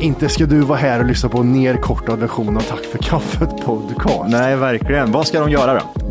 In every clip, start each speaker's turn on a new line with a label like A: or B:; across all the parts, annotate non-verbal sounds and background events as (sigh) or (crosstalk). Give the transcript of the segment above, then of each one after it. A: inte ska du vara här och lyssna på en nerkortad version av Tack för kaffet podcast.
B: Nej, verkligen. Vad ska de göra då?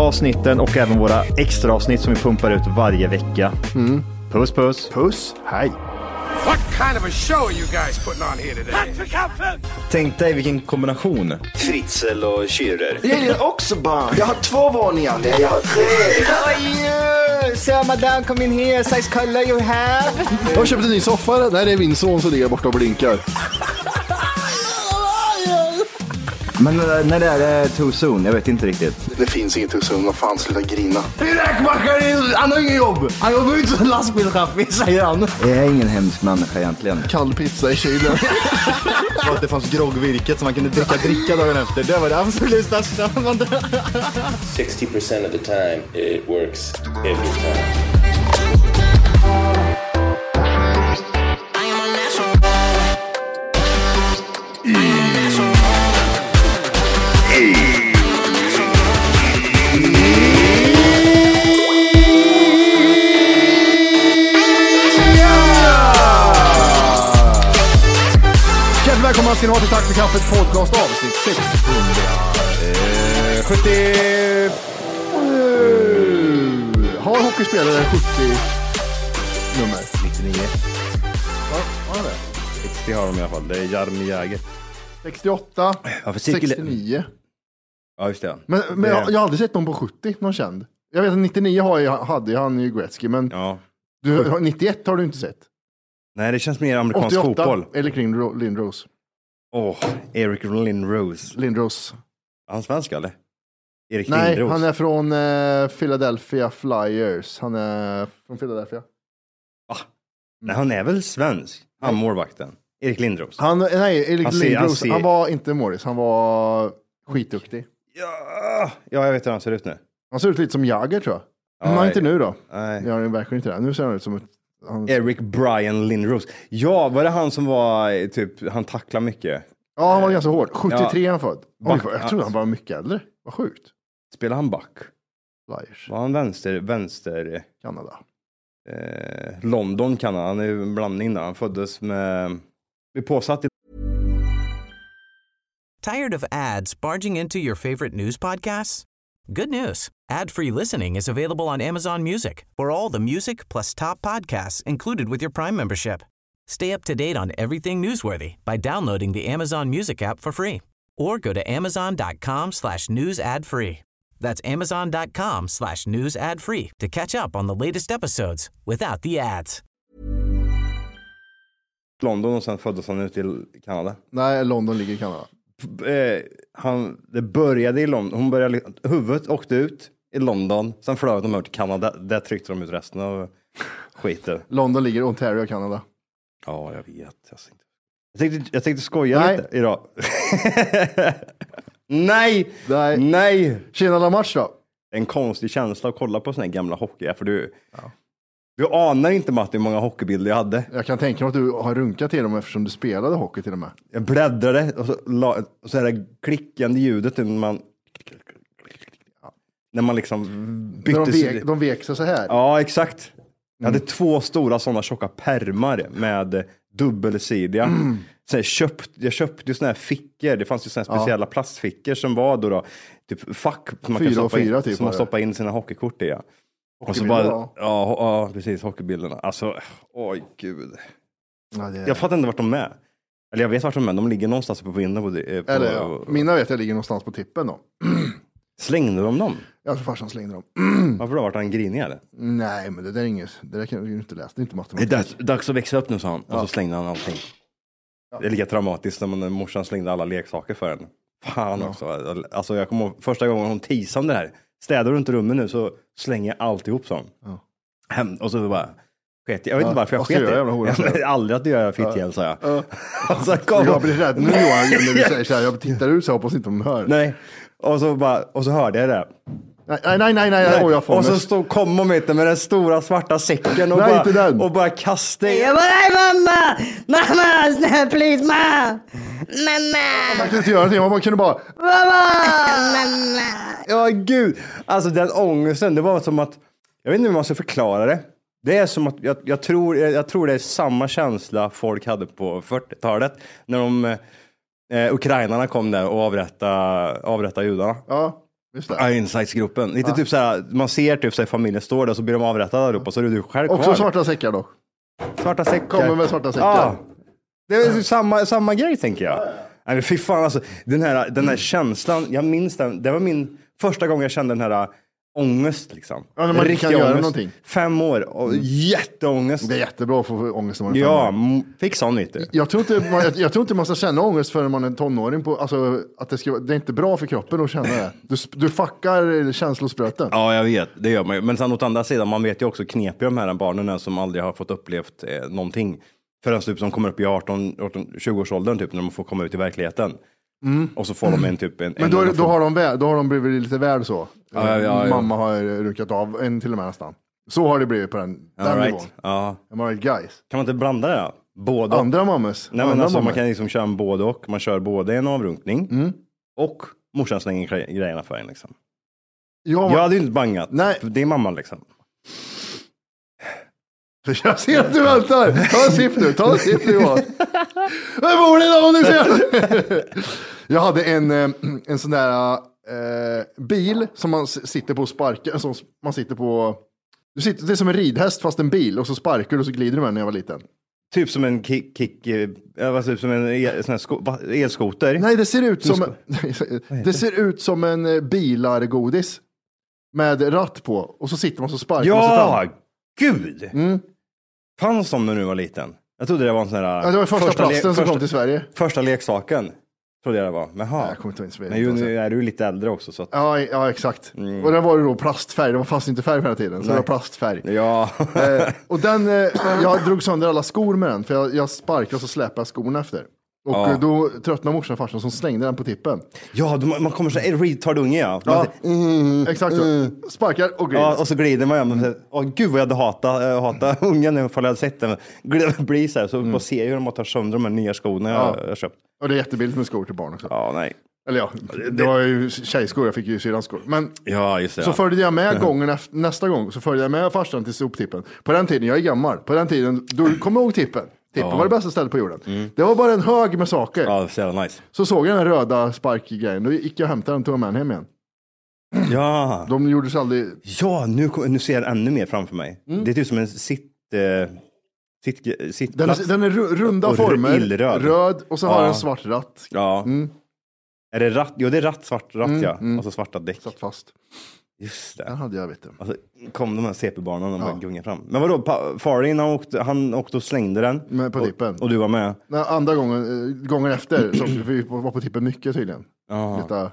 B: avsnitten och även våra extra avsnitt som vi pumpar ut varje vecka.
C: Mm.
B: Puss puss!
A: Puss, hej.
D: What kind of a show are you guys putting on here today?
C: Tänk dig vilken kombination. Fritzl och Schürrer.
E: Jag gillar också barn. Jag har två våningar. Nej, jag har tre.
F: So madame, come in here, size color you have.
A: Jag har köpt en ny soffa. Där är min son som ligger borta och blinkar.
B: Men eh, när det är det too soon? Jag vet inte riktigt.
E: Det finns inget hos Vad fan, sluta grina.
A: Räkmackaren, han har inget jobb. Han jobbar inte som lastbilschaffis, säger han.
B: Jag är ingen hemsk människa egentligen.
A: Kall pizza i (laughs) kylen.
C: Och att det fanns groggvirket som man kunde dricka dricka dagen efter. Det var det absolut största.
B: Eh,
G: 60% of the time, it works every time.
A: Hjärtligt välkomna ska ni vara till Tack för kaffet podcast avsnitt Eh, 670. Har hockeyspelare 70 nummer?
B: 99.
A: Va? Har det?
B: 60 har de i alla fall. Det är Jarmi Jäger.
A: 68,
B: Ja, för cirkel-
A: 69.
B: Ja, just det.
A: Men, men
B: Det-
A: jag, jag har aldrig sett någon på 70, någon känd. Jag vet att 99 har jag, hade jag, han är ju Gretzky, men
B: Ja.
A: du, 91 har du inte sett.
B: Nej, det känns mer amerikansk
A: 88,
B: fotboll.
A: eller kring Ro- Lindros.
B: Åh, Erik Lindros.
A: Lindros.
B: Är han svensk eller? Erik
A: Nej,
B: Lindros?
A: han är från eh, Philadelphia Flyers. Han är från Philadelphia.
B: Nej, han är väl svensk? Han målvakten. Erik Lindros.
A: Han, nej, Erik
B: Han ser- han
A: Lindros,
B: ser-
A: han var inte Morris, han var skitduktig.
B: Ja, ja, jag vet hur han ser ut nu.
A: Han ser ut lite som Jagger tror jag.
B: Ja,
A: Men han är inte nu då.
B: Nej.
A: Jag är verkligen inte det. Nu ser han ut som ett... Han,
B: Eric Brian Lindros. Ja, var det han som var eh, typ, han tacklade mycket?
A: ja, han var ganska hård. 73
B: ja.
A: är han född. Oj,
B: Back-
A: jag trodde han var mycket äldre. Vad sjukt.
B: Spelade han back?
A: Flyers,
B: Var han vänster, vänster,
A: Kanada.
B: eh, London kan han, han är ju en blandning där. Han föddes med, blir påsatt i
H: Tired of ads barging into your favorite news podcasts? Good news. Ad-free listening is available on Amazon Music. For all the music plus top podcasts included with your Prime membership. Stay up to date on everything newsworthy by downloading the Amazon Music app for free or go to amazon.com slash news ad free. That's amazon.com slash news ad free to catch up on the latest episodes without the ads.
B: London och sen föddes han ute i Kanada.
A: Nej, London ligger i Kanada.
B: Eh, han, det började i London, hon började, li- huvudet åkte ut i London, sen flög de över till Kanada, där tryckte de ut resten av skiten.
A: London ligger i Ontario, Kanada.
B: Ja, jag vet. Jag tänkte, jag tänkte, jag tänkte skoja
A: Nej.
B: lite idag. (laughs) Nej!
A: Nej.
B: Nej!
A: Tjena la match då.
B: En konstig känsla att kolla på såna här gamla hockey, för du, du anar inte Matti hur många hockeybilder jag hade.
A: Jag kan tänka mig att du har runkat till dem eftersom du spelade hockey till och med.
B: Jag bläddrade och så, la, och så här klickande ljudet när man, när man liksom
A: När
B: bytte.
A: De
B: sig-
A: vek, de Mm. vek sig så här.
B: Ja, exakt. Jag hade två stora sådana tjocka pärmar med eh, dubbelsidiga.
A: Mm.
B: Så jag, köpt, jag köpte ju sådana här fickor. Det fanns ju sådana här speciella plastfickor som var då, då typ fack som man,
A: Fyra
B: kan
A: och
B: stoppa,
A: fyra
B: in,
A: typ
B: som man
A: var det.
B: stoppar in sina hockeykort i. Ja. Och så bara,
A: Hockeybilder,
B: ja, ho- ja, precis, hockeybilderna. Alltså, oj gud.
A: Ja, det-
B: Jag fattar inte vart de är. Eller jag vet vart de är, de ligger någonstans uppe på vinden. På, eh, på,
A: Eller ja, mina vet jag ligger någonstans på tippen då.
B: Slängde de dem?
A: Jag tror farsan slängde dem.
B: Varför då? Vart han grinig eller?
A: Nej, men det där är inget, det där kan du ju inte läsa. Det är inte
B: Det är
A: matematik.
B: dags, dags att växa upp nu, sa han. Och så slängde han allting. Det är lika traumatiskt när man- morsan slängde alla leksaker för en. Fan också. Alltså, jag kommer ihåg första gången hon teasade om det här. Städar du inte rummet nu så slänger jag alltihop, sa hon. Hem, och så bara, Sket, jag vet inte varför jag
A: vad ska
B: sket
A: du göra, jävla
B: i
A: hora?
B: det. (laughs) Aldrig att du gör fitthjäl, sa jag. (laughs) Och så kom
A: Jag blir rädd nu Johan,
B: (laughs)
A: när du säger så här. Jag tittar ut så jag hoppas inte hon hör. Nej,
B: Nej. Och så, bara, och så hörde jag det.
A: nej, nej, nej, nej. Oj, jag får
B: och så
A: ångest.
B: stod, kom hon med, med den stora svarta säcken och,
A: Nej, inte
B: bara,
A: den.
B: och bara kastade in.
I: Jag bara, nej mamma! Mamma, snälla (laughs) please mamma! Mamma!
A: Jag kunde inte göra någonting, man kunde bara...
I: Mamma!
B: Ja, gud. Alltså den ångesten, det var som att, jag vet inte hur man ska förklara det. Det är som att, jag, jag, tror, jag, jag tror det är samma känsla folk hade på 40-talet när de, eh, ukrainarna kom där och avrättade, avrättade judarna.
A: Ja, just det.
B: Ja, Insightsgruppen. Lite typ såhär, man ser typ såhär familjen står där så blir de avrättade allihopa så är det du själv kvar.
A: Också svarta säckar dock.
B: Svarta säckar.
A: Kommer med svarta säckar.
B: Ja. Det är ju samma, samma grej tänker jag. Nej, men fy fan alltså, den här, den här känslan, jag minns den. Det var min första gång jag kände den här äh, ångest liksom.
A: Ja, när man inte
B: Riktig
A: kan göra
B: ångest.
A: någonting. Mm.
B: Fem år och jätteångest.
A: Det är jättebra att få ångest när man är
B: ja,
A: fem år.
B: m- fick sån lite.
A: jag tror, inte man, jag, jag tror inte man ska känna ångest förrän man är tonåring. På, alltså, att det, ska, vara- det är inte bra för kroppen att känna det. Du, sp- du fuckar känslospröten.
B: Ja, jag vet. Det gör man ju. Men sen åt andra sidan, man vet ju också knepiga de här barnen är som aldrig har fått upplevt eh, någonting. Förrän typ som kommer upp i 18, 18 20-årsåldern typ, när de får komma ut i verkligheten. Och så får de en typ en...
A: Mm. Men då,
B: en,
A: är- då, har de väl, då har de blivit lite väl så.
B: Ja, ja, ja, ja.
A: Mamma har runkat av en till och med nästan. Så har det blivit på den, den
B: All
A: nivån.
B: right. ja.
A: I'm alright guys.
B: Kan man inte blanda det? då? Både och.
A: Andra mammas.
B: Nej, men
A: andra
B: alltså, man
A: mammor.
B: kan liksom köra en både och. Man kör både en avrunkning
A: Mm.
B: och morsan slänger gre- grejerna för en. Liksom.
A: Ja,
B: Jag hade ju inte bangat.
A: Nej.
B: Det är mamman liksom.
A: (laughs) Jag ser att du väntar. Ta en sipp nu, ta en sipp nu
B: (laughs)
A: Johan. Vem bor det då om du ser? (laughs) Jag hade en, eh, en sån där eh, bil som man s- sitter på och sparkar. Som s- man sitter på. Du sitter, det är som en ridhäst fast en bil och så sparkar du och så glider du med den när jag var liten.
B: Typ som en kick, kick eh, alltså, typ som en el, sån här sko, va, elskoter.
A: Nej, det ser ut
B: (laughs)
A: som, (laughs) det ser ut som en eh, bilargodis. Med ratt på och så sitter man så sparkar man sig
B: Ja,
A: fram. Mm.
B: gud! Fanns de när du var liten? Jag trodde det var en sån här...
A: Ja, det var första, plasten som
B: första,
A: kom till Sverige.
B: Första leksaken, trodde jag det var. Men, ha.
A: Jag kommer inte ihåg
B: Men ju, nu är du ju lite äldre också. Så att,
A: Ja, ja exakt.
B: Mm.
A: Och där var det då plastfärg, det var fast inte färg på den här tiden, så det var plastfärg.
B: (laughs) ja.
A: Eh, och den, eh, jag drog sönder alla skor med den, för jag, jag sparkade och så släpade jag skorna efter. Och eh, då tröttnade morsan och farsan som slängde den på tippen. Alltså,
B: ja, du- man kommer så här, retard unge ja. Man,
A: Exakt så. Sparkar och glider.
B: Ja, och så glider man ju. Mm. Åh, gud vad jag hade hatat, eh, hatat (laughs) ungen ifall jag hade sett den. Glöm- Bli så här, så man ser ju hur de tar sönder de här nya skorna jag, jag köpt.
A: Och det är jättebilligt med skor till barn också.
B: Ja, nej.
A: Eller ja, det var ju tjejskor, jag fick ju syrrans skor. Men
B: Ja, just det.
A: så
B: ja. Mm.
A: följde jag med gången efter, nästa gång, så följde jag med farsan till soptippen. På den tiden, jag är gammal, på den tiden, du kommer ihåg tippen? Tippen var det bästa stället på jorden.
B: Mm.
A: Det var bara en hög med saker.
B: Ja, så jävla nice.
A: Så såg jag den här röda sparkgrejen, då gick jag och hämtade den och tog med den hem igen.
B: Ja,
A: De gjordes aldrig...
B: ja nu, kom- nu ser jag ännu mer framför mig. Det är typ som en sitt... Eh, sitt, eh, sitt
A: Den, är, den är ru- runda
B: Och ru-
A: former,
B: illröd.
A: röd och så har
B: Ja.
A: den en svart ratt.
B: Ja. Är det ratt? Jo, det är ratt, svart, ratt ja. Och Mm, så svarta däck.
A: Satt fast.
B: Just
A: Den
B: det.
A: hade jag vet du.
B: Och så Alltså, kom de här CP-barnen och bara gungade fram. Men vadå, pa- Farin han åkte, han åkte och slängde den.
A: Men på tippen.
B: Och du var med?
A: Nej, andra gången, eh, gången efter, så vi var på tippen mycket tydligen. Lite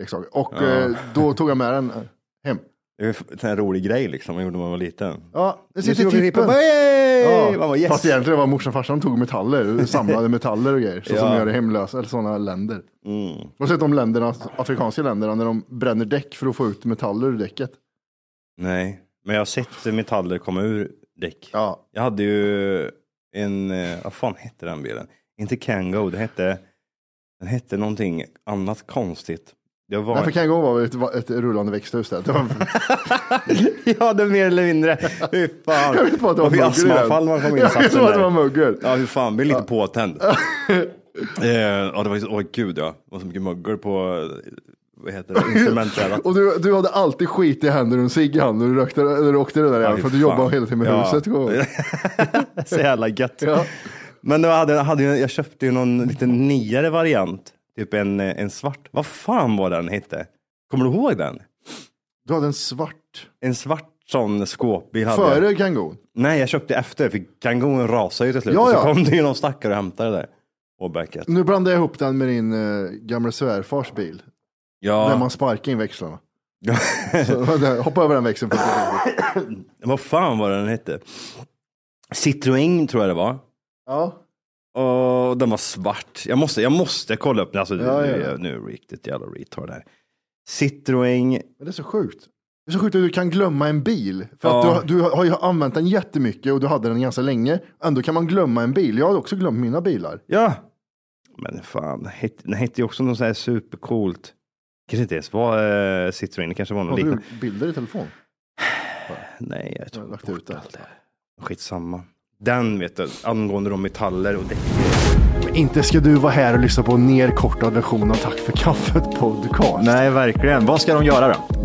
A: leksaker. Och eh, då tog jag med den eh, hem.
B: Det är ju f- en rolig grej liksom, man gjorde när man var liten.
A: Ja, det
B: Nu
A: sitter
B: tog vi
A: tippen.
B: tippen. Yay!
A: Ja.
B: Man bara, yes.
A: Fast egentligen var morsan och farsan tog metaller,
B: (laughs)
A: samlade metaller och grejer. Så som
B: Ja. Mm.
A: gör det hemlösa, eller sådana länder. Och så de länderna, afrikanska länderna, när de bränner däck för att få ut metaller ur däcket.
B: Nej, men jag har sett metaller komma ur däck.
A: Ja,
B: Jag hade ju en, eh, vad fan hette den bilen? Inte Kango, det hette, den hette någonting annat konstigt. Det var...
A: Nej, för Kango var väl ett, var ett rullande växthus där. Det var,
B: (laughs) ja, det mer eller mindre. Fy fan.
A: jag vet bara att det var
B: fick
A: mögel. i den.
B: astmaanfall när man kom in
A: (laughs)
B: i
A: Jag vet
B: satsen
A: bara att det var
B: där.
A: mögel.
B: Ja, fy fan, blir lite
A: (laughs)
B: påtänd. eh, ja, det var ju, åh gud ja, det var så mycket mögel på, eh, vad heter det, instrumentbrädan.
A: (laughs) Och du, du hade alltid skit i händer och en cigg i handen när du rökte, eller åkte det där
B: Ja,
A: ja,
B: fy
A: för att du
B: fan.
A: jobbade hela tiden med
B: Ja.
A: huset. kommer
B: (laughs)
A: jag ihåg.
B: Så jävla gött.
A: Ja.
B: Men då hade, hade, jag jag köpte ju någon lite nyare variant. Typ en, en svart. Vad fan var den hette? Kommer du ihåg den?
A: Du hade en svart
B: En svart sån skåpbil hade jag.
A: före Kangon.
B: Nej, jag köpte efter. För Kangonen rasade ju till slut.
A: Ja,
B: och så
A: ja.
B: kom det ju någon stackare och hämtade det där. Åbäcket.
A: Nu blandade jag ihop den med din eh, gamla svärfars bil. Där
B: Ja.
A: man sparkar in
B: (laughs)
A: växlarna. (laughs) Så, hoppa över den växeln. För
B: Vad fan var den hette? Citroën tror jag det var.
A: Ja.
B: Och den var svart. Jag måste, jag måste kolla upp den. Alltså,
A: Ja,
B: nu,
A: ja.
B: är jag- nu är jag riktigt jävla retard här. Citroën.
A: Men det är så sjukt. Det är så sjukt att du kan glömma en bil. För
B: Ja.
A: att du, du har ju använt den jättemycket och du hade den ganska länge. Ändå kan man glömma en bil. Jag har också glömt mina bilar.
B: Ja. Men fan, den hette- den hette ju också något så här supercoolt. Kanske inte ens var eh, Citroën, det kanske var något
A: Har du
B: liknande.
A: bilder i telefon?
B: Nej, jag tog
A: lagt
B: bort
A: ut det.
B: allt det. Skitsamma. Den vet du, angående de metaller och däck.
A: Inte ska du vara här och lyssna på en nerkortad version av Tack för kaffet podcast.
C: Nej, verkligen. Vad ska de göra då?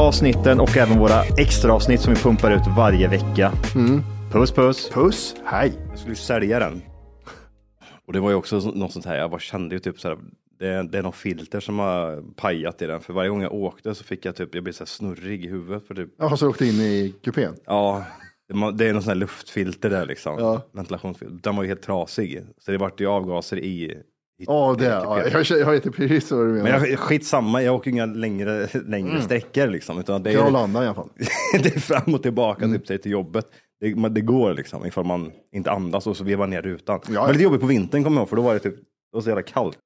C: avsnitten och även våra extra avsnitt som vi pumpar ut varje vecka. Puss puss!
A: Puss, hej.
B: Jag skulle ju sälja den. Och det var ju också så- något sånt här, jag bara kände ju typ så här, det, det är någon filter som har pajat i den. För varje gång jag åkte så fick jag typ, jag blev så här snurrig i huvudet. För typ,
A: Jaha, så du åkte in i kupén?
B: ja, det ma- det är någon sån här luftfilter där liksom.
A: Ja.
B: Ventilationsfilter. Den var ju helt trasig. Så det vart ju avgaser i. i
A: Ja, det.
B: i
A: Ja,
B: kupén.
A: jag, jag vet precis vad du menar.
B: Men jag, skitsamma, jag åker ju inga längre, längre
A: Mm.
B: sträckor liksom. Utan det
A: Till
B: är,
A: Arlanda i alla fall.
B: (laughs) det är fram och tillbaka
A: Mm.
B: typ, sig till jobbet. Det, man, det går liksom ifall man inte andas och så vevar ner rutan.
A: ja.
B: Men lite jobbigt på vintern kommer jag ihåg för då var det typ, det var så jävla kallt.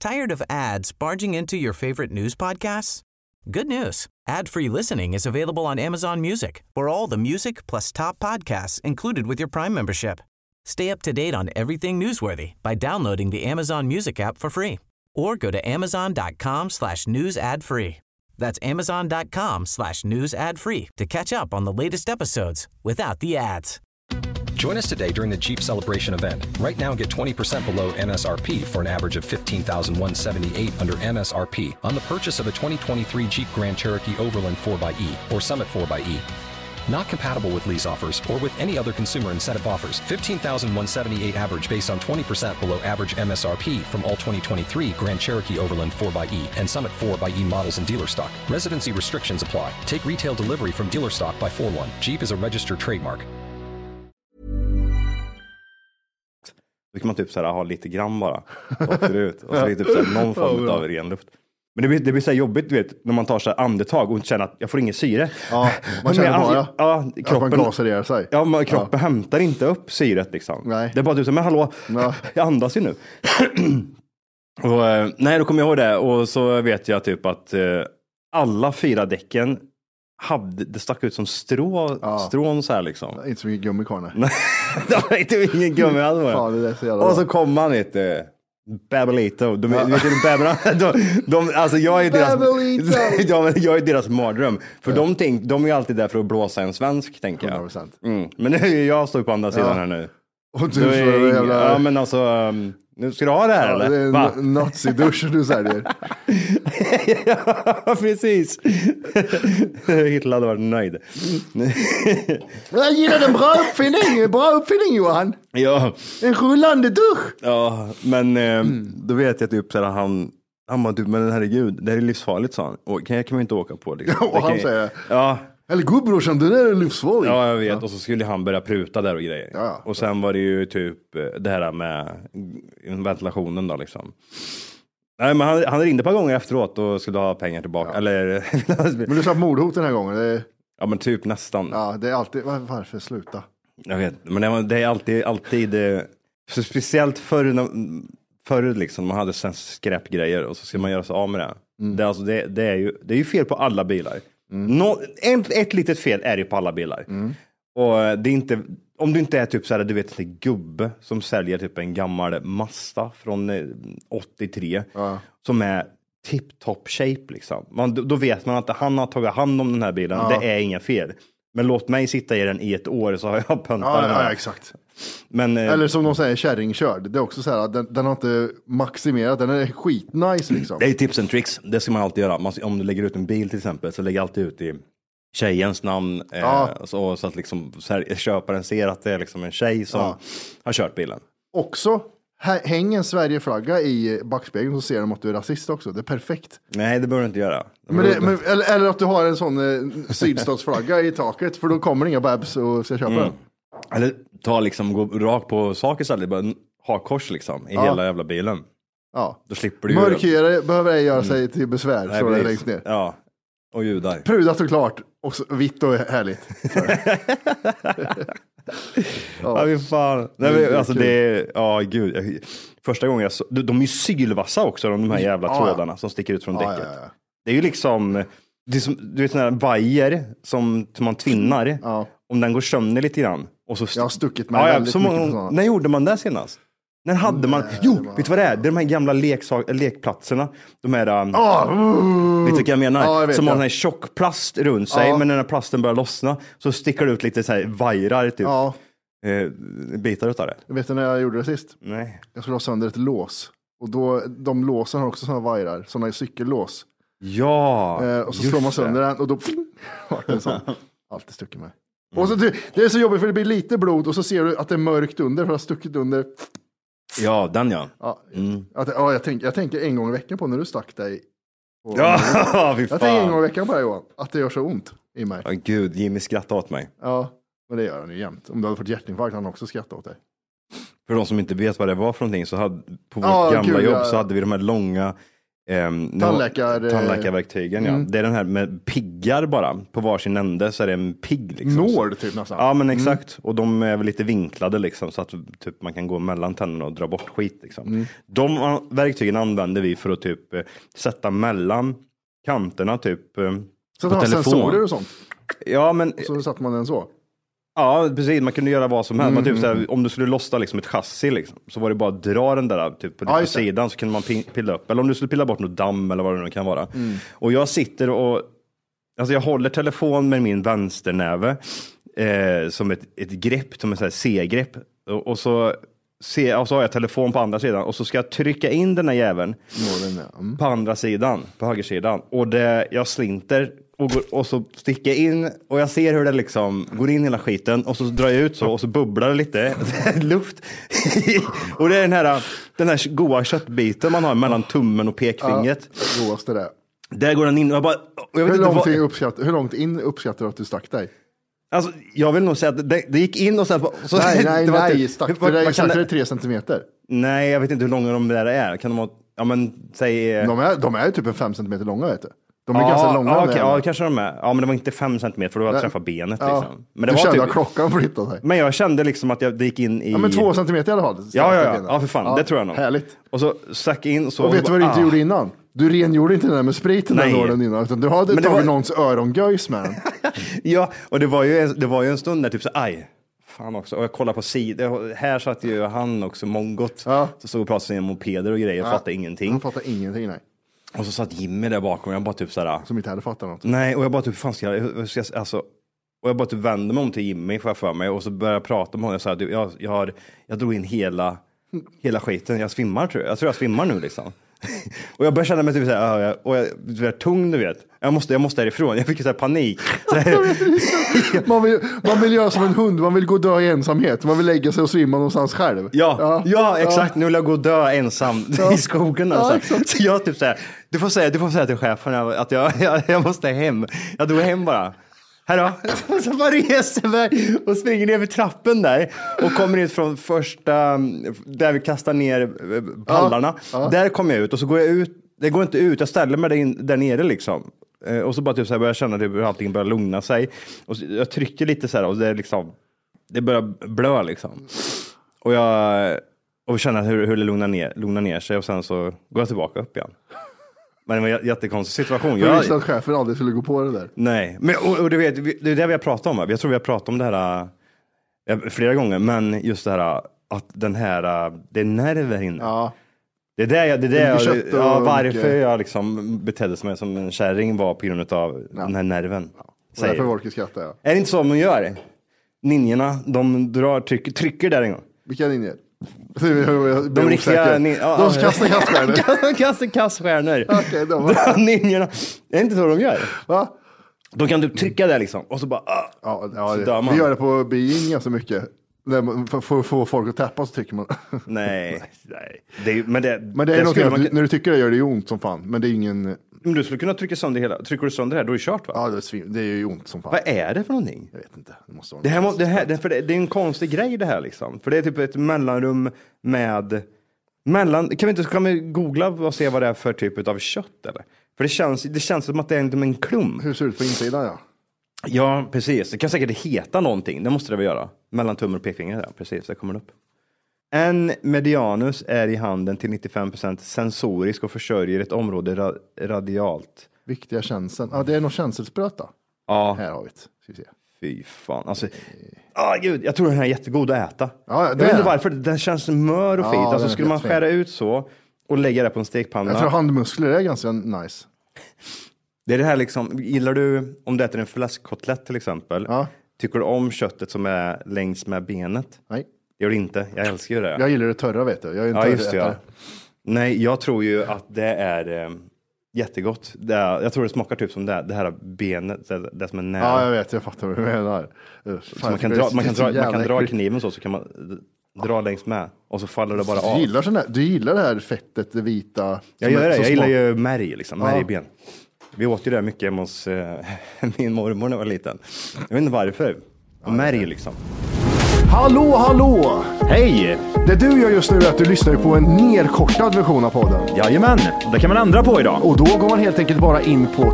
H: Tired of ads barging into your favorite news podcasts? Good news. Ad-free listening is available on Amazon Music for all the music plus top podcasts included with your Prime membership. Stay up to date on everything newsworthy by downloading the Amazon Music app for free or go to amazon.com slash news ad free. That's amazon.com slash news ad free to catch up on the latest episodes without the ads.
J: Join us today during the Jeep Celebration event. Right now, get 20% below MSRP for an average of 15178 under MSRP on the purchase of a 2023 Jeep Grand Cherokee Overland 4xE or Summit 4xE. Not compatible with lease offers or with any other consumer incentive offers. 15,178 average based on 20% below average MSRP from all 2023 Grand Cherokee Overland 4xE and Summit 4xE models in dealer stock. Residency restrictions apply. Take retail delivery from dealer stock by 4 1. Jeep is a registered trademark.
B: Då kan man typ så här, ha lite grann bara. Så åker det ut. Och så är det typ så här,
A: (laughs)
B: någon form av ren luft. Men det blir, det blir så här jobbigt, du vet, när man tar så här andetag och känner att jag får ingen syre.
A: Ja, man
B: (laughs) Men
A: känner
B: jag-
A: bara
B: ja,
A: att man
B: kroppen-
A: gasar ihjäl sig.
B: Ja, men kroppen hämtar inte upp syret liksom.
A: Nej.
B: Det är bara du som, men hallå,
A: Ja.
B: (laughs) jag andas ju nu. (clears throat) och, eh, nej, då kommer jag ihåg det och så vet jag typ att eh, alla fyra däcken hade, det stack ut som strå, strån så här liksom.
A: Inte så mycket gummi kvar nej.
B: (laughs) det var inte ingen gummi alls var det.
A: Fan, det där är så jävla
B: Och
A: bra.
B: så kom han inte. Babelito. De, ja. vet du, de, babblar- (laughs) de, de, alltså jag är deras,
A: Babelito.
B: (laughs) ja, men jag är deras mardröm. För de, tänk, de är ju alltid där för att blåsa en svensk, tänker jag.
A: 100%.
B: Mm. Men nu är ju jag står på andra sidan här nu.
A: Och du
B: Du
A: slår en
B: är,
A: jävla...
B: Ja, men alltså, um, nu ska du ha det här
A: Ja, det är
B: eller?
A: en
B: Va? (laughs)
A: nazidusch du säljer.
B: ja, precis. (laughs) Hitler hade varit nöjd.
A: (laughs) Jag gillar en bra uppfinning, bra uppfinning Johan.
B: ja.
A: En rullande dusch.
B: Ja, men eh, då vet jag typ så här, han, han bara, du, men herregud, det här är livsfarligt sa han. Och kan, jag kan man inte åka på. Liksom.
A: (laughs) Och
B: Det kan
A: han
B: ju-
A: säger-
B: Ja,
A: Eller gudbrorsan, den där är livsfarlig.
B: ja, jag vet. Och så skulle han börja pruta där och grejer.
A: Ja.
B: Och sen var det ju typ eh, det här med ventilationen då liksom. Nej, men han, han ringde ett par gånger efteråt och skulle ha pengar tillbaka. Eller, (laughs)
A: Men du slapp mordhot den här gången. Det är,
B: ja, men typ nästan.
A: ja, det är alltid, var- varför sluta?
B: Jag vet, men det, var- det är alltid, alltid eh, så speciellt förr, när, förr liksom, man hade sen skräpgrejer och så ska man göra sig av med det. Det, är alltså, det, det, är ju, det är ju fel på alla bilar. Nå, ett, ett litet fel är det ju på alla bilar. Och eh, det är inte, om du inte är typ så här, du vet en gubbe som säljer typ en gammal Mazda från eh, 83 som är tip-top shape liksom. Man, då- då vet man att han har tagit hand om den här bilen. Det är inga fel. Men låt mig sitta i den i ett år så har jag pöntat
A: Ja,
B: den.
A: ja,
B: här.
A: ja exakt.
B: Men, eh,
A: Eller som de säger, kärringkörd. Det är också så här, den, den har inte maximerat, den är skitnice liksom.
B: Det är tips and tricks. Det ska man alltid göra. Man, om du lägger ut en bil till exempel så lägg alltid ut i tjejens namn. Eh,
A: Ja.
B: så, så att liksom, så här, köparen ser att det är liksom en tjej som
A: Ja.
B: har kört bilen.
A: Också, hä- häng en Sverigeflagga i backspegeln så ser de att du är rasist också. Det är perfekt.
B: Nej, det behöver du inte göra.
A: Men det, men, eller, eller att du har en sån eh, sydstatsflagga i taket, för då kommer det inga babs och ska
B: Mm.
A: köpa den.
B: Eller ta liksom, gå rakt på sak istället. Bara ha kors liksom i
A: Ja.
B: hela jävla bilen.
A: Ja.
B: Då slipper du ju... Mm.
A: Mörkhyade behöver ej göra sig till besvär,
B: Nej,
A: står det längst
B: precis.
A: ner.
B: Ja, och judar.
A: Prudat och klart, och så, vitt och
B: (laughs)
A: härligt.
B: Ja, fy fan. Nej, men, alltså det är, ja gud. Jag, första gången jag så, de, de är ju sylvassa också, de här jävla
A: Ja, ja.
B: trådarna som sticker ut från
A: Ja,
B: däcket.
A: ja, ja.
B: Det är ju liksom, det är som, du vet sådana här vajer som, som man tvinnar.
A: Ja.
B: Om den går sönder lite grann. Och så st-
A: Jag har stuckit mig
B: ja, ja,
A: väldigt
B: så
A: mycket på
B: många,
A: sådana.
B: När gjorde man det senast? När hade man, jo,
A: det var-
B: vet du vad det är? Det är de här gamla leksak, lekplatserna. De här, um,
A: Ah, uh.
B: vet du vad Mm. jag menar?
A: Ja, jag vet
B: som har
A: ja.
B: den här tjock plast runt sig,
A: Ja.
B: men när den här plasten börjar lossna så sticker det ut lite så här vajrar, typ.
A: Ja,
B: Eh, bitar utav det.
A: vet du när jag gjorde det sist?
B: Nej.
A: Jag skulle ha sönder ett lås. Och då, de låsen har också sådana vajrar, sådana cykelås.
B: Ja,
A: Eh, och så
B: just
A: slår man
B: det.
A: sönder den och då (laughs) vart det en sån. Alltid stuckit mig. Och så, det, det är så jobbigt för det blir lite blod och så ser du att det är mörkt under för det har stuckit under.
B: Ja, den ja.
A: Ja,
B: Mm.
A: att, ja, jag, tänk, jag tänker en gång i veckan på när du stack dig. på-
B: Ja, (laughs) fy
A: Jag tänker en gång i
B: fan.
A: veckan på det här, Johan, att det gör så ont i mig.
B: Ja, gud, Jimmy skrattade åt mig.
A: Ja, men det gör han ju jämt. Om du hade fått hjärtinfarkt hade han också skrattat åt dig.
B: För de som inte vet vad det var för någonting så hade, på vårt
A: Ja,
B: gamla
A: gud,
B: jobb
A: ja.
B: så hade vi de här långa ehm,
A: Tandläkar-
B: nå- tandläkarverktygen. Ja.
A: Mm.
B: Det är den här med piggar bara. På varsin ände så är det en pigg. Liksom.
A: Nål typ nästan.
B: Ja men exakt. Och de är väl lite vinklade liksom så att typ, man kan gå mellan tänderna och dra bort skit. Liksom. De eh, verktygen använder vi för att typ eh, sätta mellan kanterna typ. eh,
A: så att han har
B: telefon.
A: sensorer och sånt.
B: Ja men
A: Så satte man den så.
B: Ja, precis. Man kunde göra vad som helst. Man
A: Mm.
B: typ, såhär, om du skulle lossa liksom, ett chassi liksom, så var det bara att dra den där typ, på
A: Ja, just det.
B: sidan så kunde man pin- pilla upp. Eller om du skulle pilla bort något damm eller vad det nu kan vara.
A: Mm.
B: Och jag sitter och alltså, jag håller telefon med min vänsternäve eh, som ett, ett grepp, som ett såhär C-grepp. Och, och, så ser- och så har jag telefon på andra sidan och så ska jag trycka in den här jäveln
A: Nålen, ja. Mm.
B: på andra sidan, på högersidan. Och det, jag slinter och, går, och så sticker jag in och jag ser hur det liksom går in i hela skiten och så drar jag ut så och så bubblar det lite (laughs) luft. och det är den här, den här goa köttbiten man har mellan tummen och pekfingret.
A: Det godaste det.
B: Där går den in och jag bara... och Jag vet
A: Hur
B: inte
A: långt, in
B: vad,
A: uppskattar, hur långt in uppskattar du att du stack
B: (laughs)
A: dig?
B: alltså, jag vill nog säga att det, det gick in och sen... bara- Så,
A: Nej, nej,
B: (laughs) det var inte-
A: nej. Stack
B: vad-
A: du dig
B: vad kan
A: stack du
B: det-
A: dig tre centimeter?
B: Nej, jag vet inte hur långa de där är. Kan de ha... Ja, men säg... eh,
A: De är, de är ju typ en fem centimeter långa vet du. De är
B: Ja,
A: ganska långa.
B: Ja,
A: de
B: okej,
A: jävlarna.
B: ja, kanske de är. Ja, men det var inte fem centimeter för då hade jag
A: Nej.
B: träffat benet.
A: Ja.
B: Liksom. Men, det
A: du
B: var
A: kände
B: typ,
A: att klockan flyttade sig.
B: men jag kände liksom att jag det gick in i...
A: Ja, men två centimeter i alla fall.
B: Ja, ja,
A: stack
B: ja.
A: benen.
B: ja för fan. Det tror jag nog.
A: Härligt.
B: Och så stack jag in och så... Ah.
A: Och vet du vad du inte gjorde innan? Du rengjorde inte den där med spriten den
B: Nej.
A: nålen innan, utan du hade
B: Men det
A: tagit
B: var-
A: någons örongöjs med den.
B: (laughs) Ja, och det var ju, en- det var ju en stund där typ så aj. Fan också. Och jag kollade på sidan. Här satt ju han också, mongot.
A: Ja.
B: Så stod och pratade med mopeder och grejer och fattade
A: Han
B: ingenting.
A: fattar ingenting, nej.
B: Och så satt Jimmy där bakom. Jag bara typ så här...
A: Som inte hade fattat något.
B: Nej, och jag bara typ, fan ska jag, hur ska jag alltså, och jag bara typ vänder mig om till Jimmy, får jag för mig, och så börjar jag prata med honom. Jag, så här, du, jag, jag, har, jag drog in hela, hela skiten, jag svimmar tror jag. Jag tror jag svimmar nu liksom. (laughs) och jag börjar känna mig typ så här, "Ah, jag, och jag, du är tung du vet. Jag måste, jag måste härifrån, jag fick så här panik. Så här,
A: Man vill, man vill göra som en hund, man vill gå och dö i ensamhet. Man vill lägga sig och svimma någonstans själv.
B: Ja, ja, exakt. Nu vill jag gå och dö ensam
A: Ja.
B: i skogen.
A: Ja,
B: Alltså.
A: exakt.
B: så jag typ så här, du får säga, du får säga till chefen att jag, jag, (laughs) jag måste hem. Jag drog hem bara. Här då. (laughs) Så bara reser mig och springer ner för trappen där och kommer ut från första, där vi kastar ner eh, pallarna. Där kommer jag ut och så går jag ut, det går inte ut, jag ställer mig där, in, där nere liksom. Eh, Och så bara typ så här börjar jag känna typ hur allting börjar lugna sig. Och så, jag trycker lite så här och det är liksom, det börjar blöa liksom. Och jag och känner hur, hur det lugnar ner, lugnar ner sig och sen så går jag tillbaka upp igen. Men det var en jä- jättekonstig situation.
A: Jag
B: Jag,
A: visste att chefen aldrig skulle gå på det där.
B: nej, men och, och du vet, vi- det är det vi har pratat om. va? Jag tror vi har pratat om det här eh, flera gånger, men just det här att den här, eh, det är nerver här inne.
A: Ja.
B: Det är det jag, det är det
A: mycket
B: jag,
A: kött och
B: ja, varför
A: mycket-
B: jag liksom betedde mig som en kärring var på grund av den här nerven.
A: Och därför
B: Säger.
A: Wolke skrattar jag.
B: Är det inte så de gör? Ninjorna, de drar, trycker, trycker där en gång.
A: Vilka ninjor? Jag blir
B: De riktiga...
A: osäker.
B: nin- ja,
A: De
B: ja.
A: kastar
B: (laughs)
A: kaststjärnor.
B: De kastar kaststjärnor.
A: Okej, de var-
B: Dra ninjorna. Är det inte så de gör?
A: Va?
B: Då kan du trycka där liksom och så bara... Ah,
A: Ja, ja,
B: så dör
A: det,
B: man.
A: vi gör det på Being ganska mycket. När man- För för att få folk att tappa så tycker man. (laughs)
B: Nej, nej. Det är, men det,
A: Men det är någonting
B: skulle
A: att
B: man,
A: du, när du tycker det gör det ju ont som fan. Men det är ingen,
B: Men du skulle kunna trycka sönder hela. Trycker du sönder det här, då är det kört va?
A: ja det är, svin, det är ju ont som fan.
B: Vad är det för någonting?
A: Jag vet inte. Det, måste vara
B: Det, här, må-
A: något.
B: det, här, det, för det, det är en konstig grej det här liksom. För det är typ ett mellanrum med... Mellan, kan vi inte kan vi googla och se vad det är för typ av kött eller? För det känns, det känns som att det är inte en klump.
A: Hur ser det ut på insidan ja.
B: Ja, precis. Det kan säkert heta någonting. Det måste det väl göra. Mellan tummen och pekfingret. där. Precis, det kommer upp. En medianus är i handen till 95% sensorisk och försörjer ett område ra- radialt.
A: Viktiga känseln. Ja, det är någon känselspröta.
B: Ja,
A: Här har vi det. Ska vi se.
B: fy fan. Alltså, ah, gud, jag tror den här är jättegod att äta.
A: Eh. Ja, det
B: jag
A: är
B: vet inte
A: den.
B: varför. Den känns mör och
A: Ja,
B: fin.
A: den
B: Alltså,
A: är
B: skulle man
A: jättefin.
B: skära ut så och lägga det på en stekpanna.
A: Jag tror handmuskler är ganska nice.
B: Det är det här liksom, gillar du om du äter en fläskkotlett till exempel.
A: Ja.
B: Tycker du om köttet som är längs med benet?
A: Nej.
B: Det gör du inte. Jag älskar ju det.
A: Jag gillar det törra vet du. Jag är en
B: Ja, just det. Ja.
A: törrätare.
B: Nej, jag tror ju att det är eh, jättegott. Det är, jag tror det smakar typ som det, här- det här benet, det, det som är nära.
A: Ja, jag vet. Jag fattar vad du menar. Usch,
B: så
A: fan,
B: man kan
A: det
B: dra,
A: är
B: man kan
A: så
B: dra, man
A: jävla
B: kan dra
A: äckligt.
B: kniven så, så kan man eh, dra längs med och så faller det bara
A: Du
B: av.
A: gillar, sån där, du gillar det här fettet, det vita?
B: Jag
A: som
B: gör
A: är
B: det,
A: så
B: jag gillar
A: smak-
B: ju märg liksom,
A: Ja.
B: märgben. Vi åt ju det mycket hemma hos eh, (laughs) min mormor när jag var liten. Jag vet inte varför. Märg liksom.
A: Hallå, hallå!
C: Hej!
A: Det du gör just nu är att du lyssnar ju på en nerkortad version av podden.
C: Jajamän, det kan man ändra på idag.
A: Och då går man helt enkelt bara in på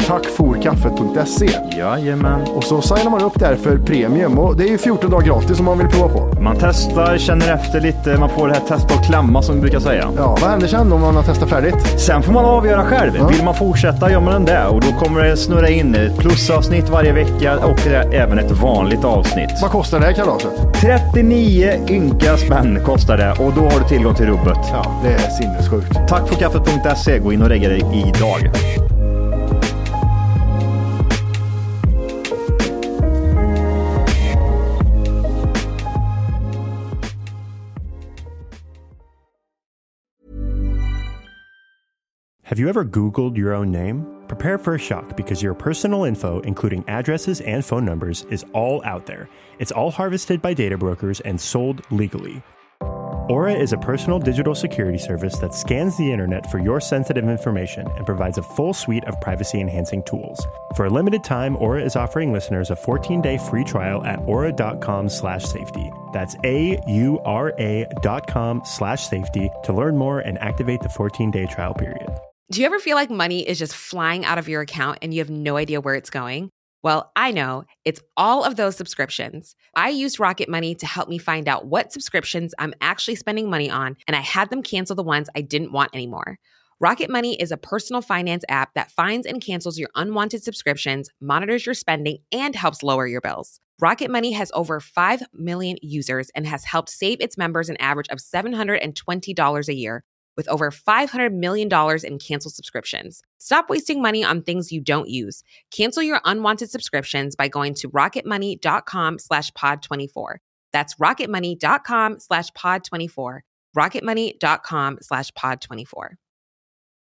A: tackforkaffet.se
C: Jajamän.
A: och så signar man upp där för premium och det är ju 14 dagar gratis om man vill prova på.
C: Man testar, känner efter lite, man får det här testa och klämma som vi brukar säga.
A: Ja, vad händer sen om man har testat färdigt?
C: Sen får man avgöra själv. Vill man fortsätta gör man det och då kommer det snurra in ett plusavsnitt varje vecka och det är även ett vanligt avsnitt.
A: Vad kostar det här kalaset?
C: 39 ynka spänn kostar det och då har du tillgång till rubbet.
A: Ja, det är sinnessjukt.
C: Tack för kaffet.se. E. Gå in och lägg dig idag.
K: Have you ever Googled your own name? Prepare for a shock because your personal info, including addresses and phone numbers, is all out there. It's all harvested by data brokers and sold legally. Aura is a personal digital security service that scans the internet for your sensitive information and provides a full suite of privacy enhancing tools. For a limited time, Aura is offering listeners a 14-day free trial at aura.com slash safety. That's A-U-R-A dot com slash safety to learn more and activate the 14-day trial period.
L: Do you ever feel like money is just flying out of your account and you have no idea where it's going? Well, I know it's all of those subscriptions. I used Rocket Money to help me find out what subscriptions I'm actually spending money on, and I had them cancel the ones I didn't want anymore. Rocket Money is a personal finance app that finds and cancels your unwanted subscriptions, monitors your spending, and helps lower your bills. Rocket Money has over 5 million users and has helped save its members an average of $720 a year with over $500 million in canceled subscriptions. Stop wasting money on things you don't use. Cancel your unwanted subscriptions by going to rocketmoney.com slash pod24. That's rocketmoney.com slash pod24. rocketmoney.com slash pod24.